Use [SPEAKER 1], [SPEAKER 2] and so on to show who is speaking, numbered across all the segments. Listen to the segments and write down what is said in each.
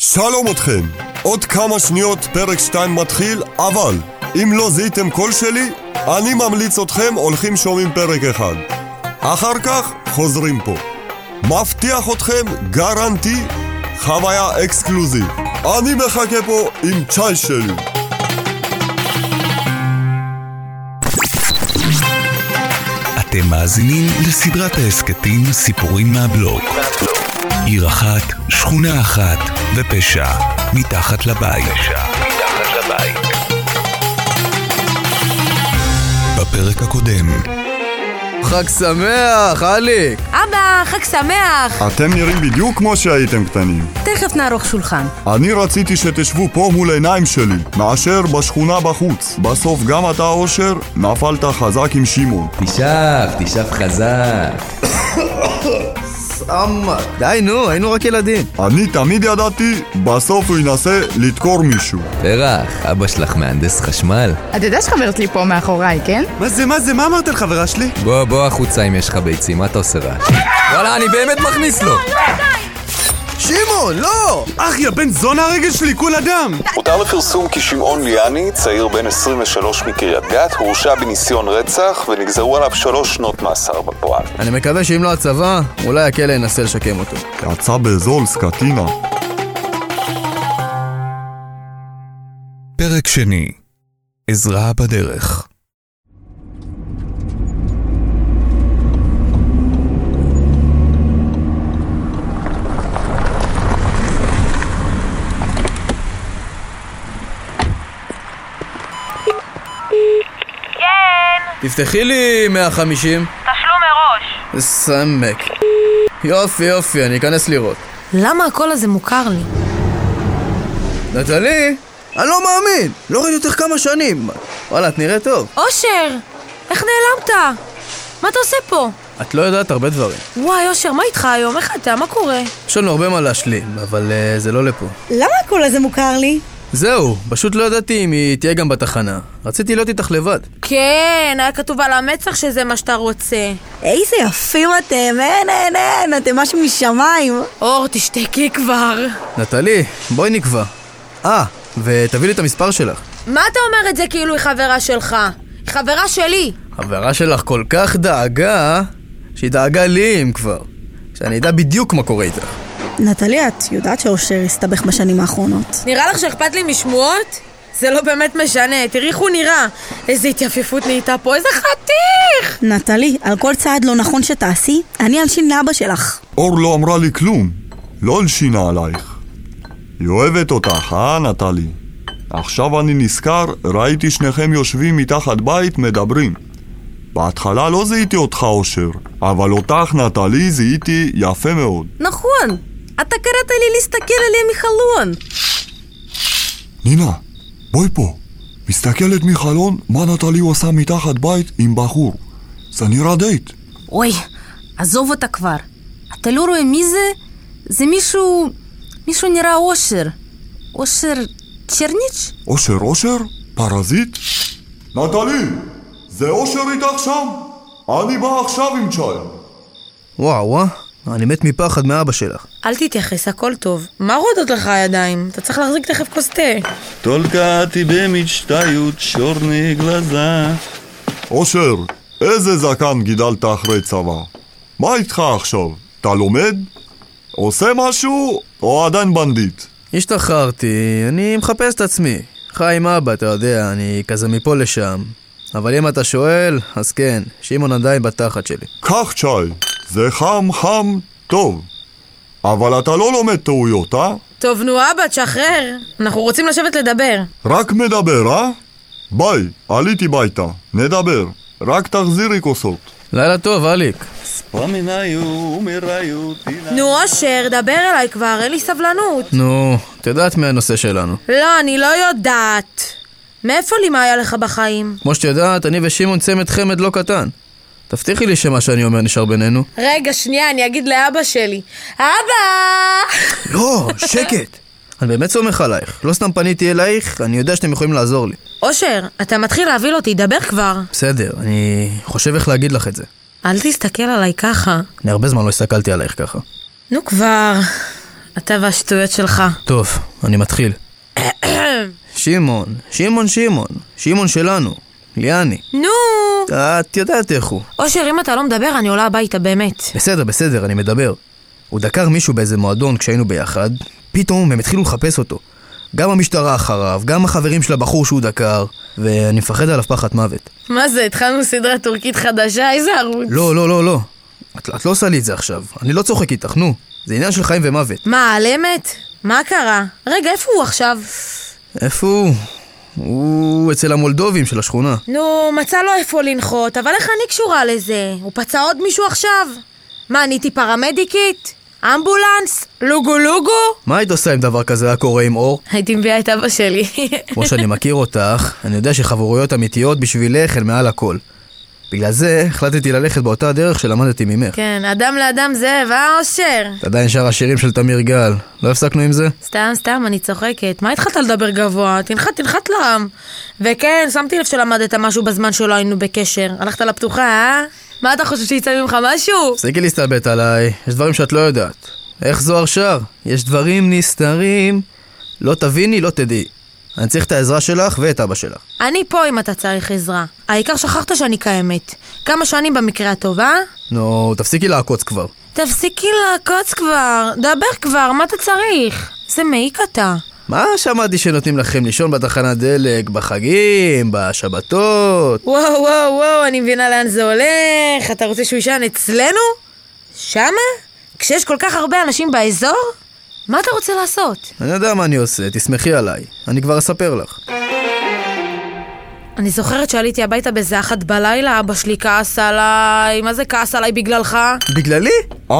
[SPEAKER 1] שלום אתכם, עוד כמה שניות פרק 2 מתחיל, אבל אם לא זיהיתם קול שלי, אני ממליץ אתכם הולכים שומעים פרק אחד. אחר כך חוזרים פה. מבטיח אתכם, גרנטי, חוויה אקסקלוזיב. אני מחכה פה עם צ'אי שלי.
[SPEAKER 2] אתם מאזינים לסדרת ההסכתים סיפורים מהבלוק. עיר אחת, שכונה אחת, ופשע מתחת לבית. בפרק הקודם,
[SPEAKER 3] חג שמח, אליק!
[SPEAKER 4] אבא, חג שמח!
[SPEAKER 1] אתם נראים בדיוק כמו שהייתם קטנים.
[SPEAKER 4] תכף נערוך שולחן.
[SPEAKER 1] אני רציתי שתשבו פה מול העיניים שלי, מאשר בשכונה בחוץ. בסוף גם אתה, אושר, נפלת חזק עם שמעון.
[SPEAKER 5] תשאף, תשאף חזק.
[SPEAKER 3] אמה, די נו, היינו רק ילדים.
[SPEAKER 1] אני תמיד ידעתי, בסוף הוא ינסה לדקור מישהו.
[SPEAKER 5] פרח, אבא שלך מהנדס חשמל?
[SPEAKER 6] אתה יודע שחברת לי פה מאחוריי, כן?
[SPEAKER 3] מה זה, מה זה, מה אמרת על חברה שלי?
[SPEAKER 5] בוא, בוא החוצה אם יש לך ביצים, מה אתה עושה רעש? וואלה, אני באמת מכניס
[SPEAKER 7] לא,
[SPEAKER 5] לו!
[SPEAKER 3] שמעון, לא! אחי, הבן זונה הרגל שלי, כול אדם!
[SPEAKER 8] הותר לפרסום כי שמעון ליאני, צעיר בן 23 מקריית גת, הורשע בניסיון רצח ונגזרו עליו שלוש שנות מאסר בפועל.
[SPEAKER 3] אני מקווה שאם לא הצבא, אולי הכלא ינסה לשקם אותו.
[SPEAKER 1] יצא באזור סקטינה.
[SPEAKER 2] פרק שני, עזרה בדרך.
[SPEAKER 3] תפתחי לי 150.
[SPEAKER 7] תשלום מראש.
[SPEAKER 3] סמק. יופי, יופי, אני אכנס לראות.
[SPEAKER 4] למה הקול הזה מוכר לי?
[SPEAKER 3] נטלי! אני לא מאמין! לא ראיתי אותך כמה שנים. וואלה, את נראית טוב.
[SPEAKER 4] אושר! איך נעלמת? מה אתה עושה פה?
[SPEAKER 3] את לא יודעת הרבה דברים.
[SPEAKER 4] וואי, אושר, מה איתך היום? איך אתה? מה קורה?
[SPEAKER 3] יש לנו הרבה מה להשלים, אבל אה, זה לא לפה.
[SPEAKER 9] למה הקול הזה מוכר לי?
[SPEAKER 3] זהו, פשוט לא ידעתי אם היא תהיה גם בתחנה. רציתי להיות איתך לבד.
[SPEAKER 4] כן, היה כתוב על המצח שזה מה שאתה רוצה.
[SPEAKER 9] איזה יפים אתם, אין, אין, אין, אתם משהו משמיים.
[SPEAKER 4] אור, תשתקי כבר.
[SPEAKER 3] נטלי, בואי נקבע. אה, ותביא לי את המספר שלך.
[SPEAKER 4] מה אתה אומר את זה כאילו היא חברה שלך? היא חברה שלי.
[SPEAKER 3] חברה שלך כל כך דאגה, שהיא דאגה לי אם כבר. שאני אדע בדיוק מה קורה איתך.
[SPEAKER 9] נטלי, את יודעת שאושר הסתבך בשנים האחרונות.
[SPEAKER 4] נראה לך שאכפת לי משמועות? זה לא באמת משנה, תראי איך הוא נראה. איזה התייפיפות נהייתה פה, איזה חתיך!
[SPEAKER 9] נטלי, על כל צעד לא נכון שתעשי, אני אלשין לאבא שלך.
[SPEAKER 1] אור לא אמרה לי כלום, לא הלשינה עלייך. היא אוהבת אותך, אה, נטלי? עכשיו אני נזכר, ראיתי שניכם יושבים מתחת בית מדברים. בהתחלה לא זיהיתי אותך, אושר, אבל אותך, נטלי, זיהיתי יפה מאוד.
[SPEAKER 4] נכון, אתה קראת לי להסתכל עליה מחלון.
[SPEAKER 1] נינה, בואי פה. מסתכלת מחלון מה נטלי עושה מתחת בית עם בחור. זה נראה דייט.
[SPEAKER 10] אוי, עזוב אותה כבר. אתה לא רואה מי זה? זה מישהו... מישהו נראה אושר. אושר צ'רניץ'?
[SPEAKER 1] אושר אושר? פרזיט? נטלי, זה אושר איתך שם? אני בא עכשיו עם צ'אי.
[SPEAKER 3] וואו, וואו, אני מת מפחד מאבא שלך.
[SPEAKER 4] אל תתייחס, הכל טוב. מה רודות לך הידיים? אתה צריך להחזיק תכף כוס תה.
[SPEAKER 11] Только тебе мечтают черные глаза.
[SPEAKER 1] אושר, איזה זקן גידלת אחרי צבא? מה איתך עכשיו? אתה לומד? עושה משהו, או עדיין בנדיט?
[SPEAKER 3] השתחררתי, אני מחפש את עצמי. חי עם אבא, אתה יודע, אני כזה מפה לשם. אבל אם אתה שואל, אז כן, שמעון עדיין בתחת שלי.
[SPEAKER 1] קח צ'אי, זה חם חם טוב. אבל אתה לא לומד טעויות, אה?
[SPEAKER 4] טוב, נו אבא, תשחרר. אנחנו רוצים לשבת לדבר.
[SPEAKER 1] רק מדבר, אה? ביי, עליתי ביתה, נדבר. רק תחזירי כוסות.
[SPEAKER 3] לילה טוב, אליק.
[SPEAKER 11] Вспоминаю, умираю, ты на-
[SPEAKER 4] נו, אושר, דבר אליי כבר, אין לי סבלנות.
[SPEAKER 3] נו, את יודעת מה הנושא שלנו.
[SPEAKER 4] לא, אני לא יודעת. מאיפה לי מה היה לך בחיים?
[SPEAKER 3] כמו שאת יודעת, אני ושמעון צמד חמד לא קטן. תבטיחי לי שמה שאני אומר נשאר בינינו.
[SPEAKER 4] רגע, שנייה, אני אגיד לאבא שלי. אבא!
[SPEAKER 3] לא, שקט. אני באמת סומך עלייך. לא סתם פניתי אלייך, אני יודע שאתם יכולים לעזור לי.
[SPEAKER 4] אושר, אתה מתחיל להבהיל אותי, דבר כבר.
[SPEAKER 3] בסדר, אני חושב איך להגיד לך את זה.
[SPEAKER 4] אל תסתכל עליי ככה.
[SPEAKER 3] אני הרבה זמן לא הסתכלתי עלייך ככה.
[SPEAKER 4] נו כבר. אתה והשטויות שלך.
[SPEAKER 3] טוב, אני מתחיל. שמעון, שמעון, שמעון, שמעון שלנו, ליאני.
[SPEAKER 4] נו!
[SPEAKER 3] את יודעת איך הוא.
[SPEAKER 4] אושר, אם אתה לא מדבר, אני עולה הביתה, באמת.
[SPEAKER 3] בסדר, בסדר, אני מדבר. הוא דקר מישהו באיזה מועדון כשהיינו ביחד, פתאום הם התחילו לחפש אותו. גם המשטרה אחריו, גם החברים של הבחור שהוא דקר, ואני מפחד עליו פחד מוות.
[SPEAKER 4] מה זה, התחלנו סדרה טורקית חדשה? איזה ערוץ?
[SPEAKER 3] לא, לא, לא, לא. את, את לא עושה לי את זה עכשיו. אני לא צוחק איתך, נו. זה עניין של חיים ומוות.
[SPEAKER 4] מה, על אמת? מה קרה? רגע, איפה הוא עכשיו?
[SPEAKER 3] איפה הוא? הוא אצל המולדובים של השכונה.
[SPEAKER 4] נו, מצא לו איפה לנחות, אבל איך אני קשורה לזה? הוא פצע עוד מישהו עכשיו? מה, אני הייתי פרמדיקית? אמבולנס? לוגו לוגו?
[SPEAKER 3] מה היית עושה אם דבר כזה היה קורה עם אור?
[SPEAKER 4] הייתי מביאה את אבא שלי.
[SPEAKER 3] כמו שאני מכיר אותך, אני יודע שחברויות אמיתיות בשבילך הן מעל הכל. בגלל זה החלטתי ללכת באותה הדרך שלמדתי ממך.
[SPEAKER 4] כן, אדם לאדם זאב, אה, אושר?
[SPEAKER 3] את עדיין שר השירים של תמיר גל. לא הפסקנו עם זה?
[SPEAKER 4] סתם, סתם, אני צוחקת. מה התחלת לדבר גבוה? תנחת, תנחת לעם. וכן, שמתי לב שלמדת משהו בזמן שלא היינו בקשר. הלכת לפתוחה, אה? מה אתה חושב שיצא ממך משהו?
[SPEAKER 3] תפסיקי להסתלבט עליי, יש דברים שאת לא יודעת. איך זוהר שר? יש דברים נסתרים. לא תביני, לא תדעי. אני צריך את העזרה שלך ואת אבא שלך.
[SPEAKER 4] אני פה אם אתה צריך עזרה. העיקר שכחת שאני קיימת. כמה שנים במקרה הטוב, אה?
[SPEAKER 3] נו, תפסיקי לעקוץ כבר.
[SPEAKER 4] תפסיקי לעקוץ כבר, דבר כבר, מה אתה צריך? זה מעיק אתה.
[SPEAKER 3] מה שמעתי שנותנים לכם לישון בתחנת דלק, בחגים, בשבתות?
[SPEAKER 4] וואו, וואו, וואו, אני מבינה לאן זה הולך. אתה רוצה שהוא יישן אצלנו? שמה? כשיש כל כך הרבה אנשים באזור? מה אתה רוצה לעשות?
[SPEAKER 3] אני יודע מה אני עושה, תסמכי עליי. אני כבר אספר לך.
[SPEAKER 4] אני זוכרת שעליתי הביתה באיזה אחת בלילה, אבא שלי כעס עליי, מה זה כעס עליי בגללך?
[SPEAKER 3] בגללי?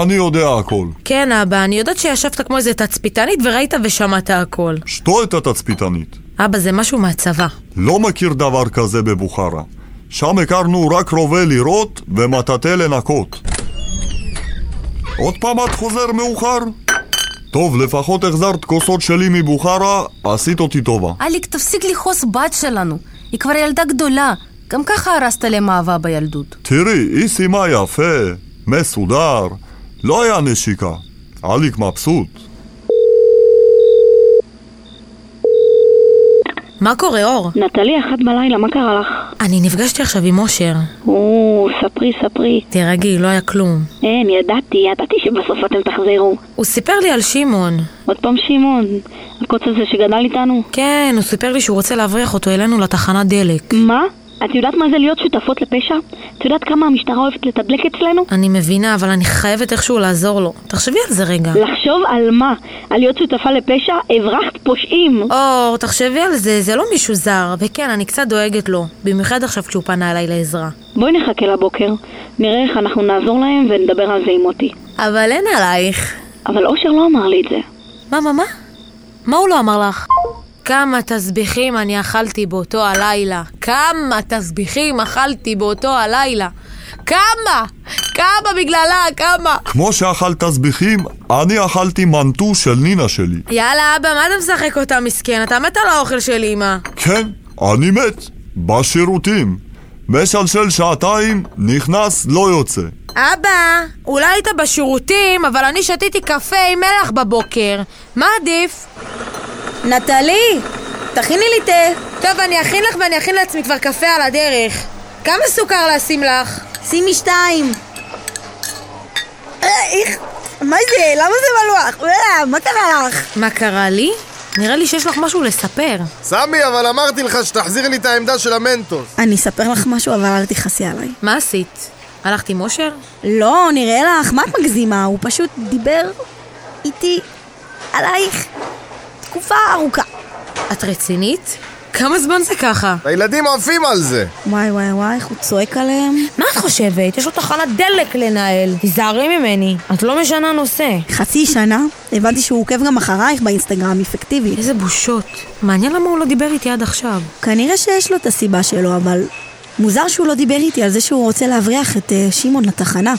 [SPEAKER 1] אני יודע הכל.
[SPEAKER 4] כן, אבא, אני יודעת שישבת כמו איזה תצפיתנית וראית ושמעת הכל.
[SPEAKER 1] שתו את התצפיתנית.
[SPEAKER 4] אבא, זה משהו מהצבא.
[SPEAKER 1] לא מכיר דבר כזה בבוכרה. שם הכרנו רק רובה לירות ומטאטא לנקות. עוד פעם את חוזר מאוחר? טוב, לפחות החזרת כוסות שלי מבוכרה, עשית אותי טובה.
[SPEAKER 10] אליק, תפסיק לכעוס בת שלנו. היא כבר ילדה גדולה. גם ככה הרסת להם אהבה בילדות.
[SPEAKER 1] תראי, היא סיימה יפה, מסודר, לא היה נשיקה. אליק מבסוט.
[SPEAKER 4] מה קורה, אור?
[SPEAKER 7] נטלי, אחת בלילה, מה קרה לך?
[SPEAKER 4] אני נפגשתי עכשיו עם אושר.
[SPEAKER 7] או, ספרי, ספרי.
[SPEAKER 4] תירגעי, לא היה כלום.
[SPEAKER 7] אין, ידעתי, ידעתי שבסוף אתם תחזרו.
[SPEAKER 4] הוא סיפר לי על שמעון.
[SPEAKER 7] עוד פעם שמעון, הקוץ הזה שגדל איתנו?
[SPEAKER 4] כן, הוא סיפר לי שהוא רוצה להבריח אותו אלינו לתחנת דלק.
[SPEAKER 7] מה? את יודעת מה זה להיות שותפות לפשע? את יודעת כמה המשטרה אוהבת לתדלק אצלנו?
[SPEAKER 4] אני מבינה, אבל אני חייבת איכשהו לעזור לו. תחשבי על זה רגע.
[SPEAKER 7] לחשוב על מה? על להיות שותפה לפשע? הברחת פושעים!
[SPEAKER 4] אור, תחשבי על זה, זה לא מישהו זר. וכן, אני קצת דואגת לו. במיוחד עכשיו כשהוא פנה אליי לעזרה.
[SPEAKER 7] בואי נחכה לבוקר, נראה איך אנחנו נעזור להם ונדבר על זה עם מוטי.
[SPEAKER 4] אבל אין עלייך.
[SPEAKER 7] אבל אושר לא אמר לי את זה.
[SPEAKER 4] מה, מה, מה? מה הוא לא אמר לך? כמה תסביכים אני אכלתי באותו הלילה. כמה תסביכים אכלתי באותו הלילה. כמה? כמה בגללה? כמה?
[SPEAKER 1] כמו שאכלת תסביכים, אני אכלתי מנטו של נינה שלי.
[SPEAKER 4] יאללה, אבא, מה אתה משחק אותה מסכן? אתה מת על האוכל של אמא.
[SPEAKER 1] כן, אני מת. בשירותים. משלשל שעתיים, נכנס, לא יוצא.
[SPEAKER 4] אבא, אולי היית בשירותים, אבל אני שתיתי קפה עם מלח בבוקר. מה עדיף?
[SPEAKER 9] נטלי, תכיני לי תה.
[SPEAKER 4] טוב, אני אכין לך ואני אכין לעצמי כבר קפה על הדרך. כמה סוכר לשים לך?
[SPEAKER 9] שימי שתיים. אה, איך? מה זה? למה זה מלוח? אה, מה קרה לך?
[SPEAKER 4] מה קרה לי? נראה לי שיש לך משהו לספר.
[SPEAKER 12] סמי, אבל אמרתי לך שתחזיר לי את העמדה של המנטוס.
[SPEAKER 9] אני אספר לך משהו, אבל אל תכעסי עליי.
[SPEAKER 4] מה עשית? הלכת עם אושר?
[SPEAKER 9] לא, נראה לך, מה את מגזימה? הוא פשוט דיבר איתי עלייך תקופה ארוכה.
[SPEAKER 4] את רצינית? כמה זמן זה ככה?
[SPEAKER 12] הילדים עפים על זה.
[SPEAKER 9] וואי וואי וואי, איך הוא צועק עליהם.
[SPEAKER 4] מה את חושבת? יש לו תחנת דלק לנהל. תיזהרי ממני, את לא משנה נושא.
[SPEAKER 9] חצי שנה, הבנתי שהוא עוקב גם אחרייך באינסטגרם, היא פיקטיבית.
[SPEAKER 4] איזה בושות. מעניין למה הוא לא דיבר איתי עד עכשיו.
[SPEAKER 9] כנראה שיש לו את הסיבה שלו, אבל מוזר שהוא לא דיבר איתי על זה שהוא רוצה להבריח את אה, שמעון לתחנה.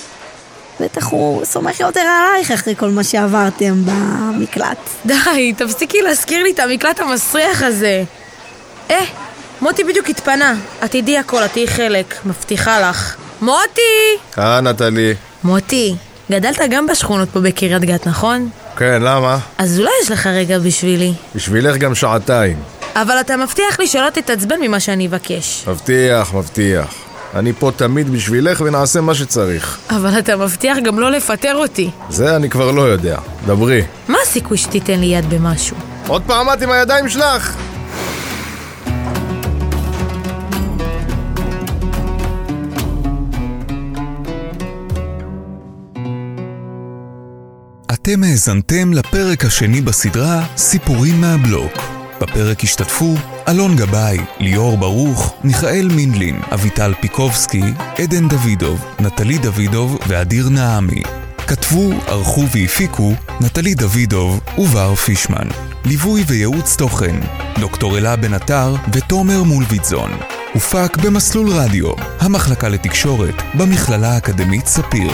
[SPEAKER 9] בטח הוא סומך יותר עלייך אחרי כל מה שעברתם במקלט.
[SPEAKER 4] די, תפסיקי להזכיר לי את המקלט המסריח הזה. אה, מוטי בדיוק התפנה. את תדעי הכל, את תהיי חלק. מבטיחה לך. מוטי!
[SPEAKER 12] אה, נטלי.
[SPEAKER 4] מוטי, גדלת גם בשכונות פה בקריית גת, נכון?
[SPEAKER 13] כן, למה?
[SPEAKER 4] אז אולי יש לך רגע בשבילי.
[SPEAKER 13] בשבילך גם שעתיים.
[SPEAKER 4] אבל אתה מבטיח לי שלא תתעצבן ממה שאני אבקש.
[SPEAKER 13] מבטיח, מבטיח. אני פה תמיד בשבילך ונעשה מה שצריך.
[SPEAKER 4] אבל אתה מבטיח גם לא לפטר אותי.
[SPEAKER 13] זה אני כבר לא יודע. דברי.
[SPEAKER 4] מה הסיכוי שתיתן לי יד במשהו?
[SPEAKER 12] עוד פעם את עם הידיים שלך!
[SPEAKER 2] אתם האזנתם לפרק השני בסדרה סיפורים מהבלוק. בפרק השתתפו אלון גבאי, ליאור ברוך, מיכאל מינדלין, אביטל פיקובסקי, עדן דוידוב, נטלי דוידוב ואדיר נעמי. כתבו, ערכו והפיקו נטלי דוידוב ובר פישמן. ליווי וייעוץ תוכן דוקטור אלה בן עטר ותומר מולביטזון. הופק במסלול רדיו, המחלקה לתקשורת במכללה האקדמית ספיר.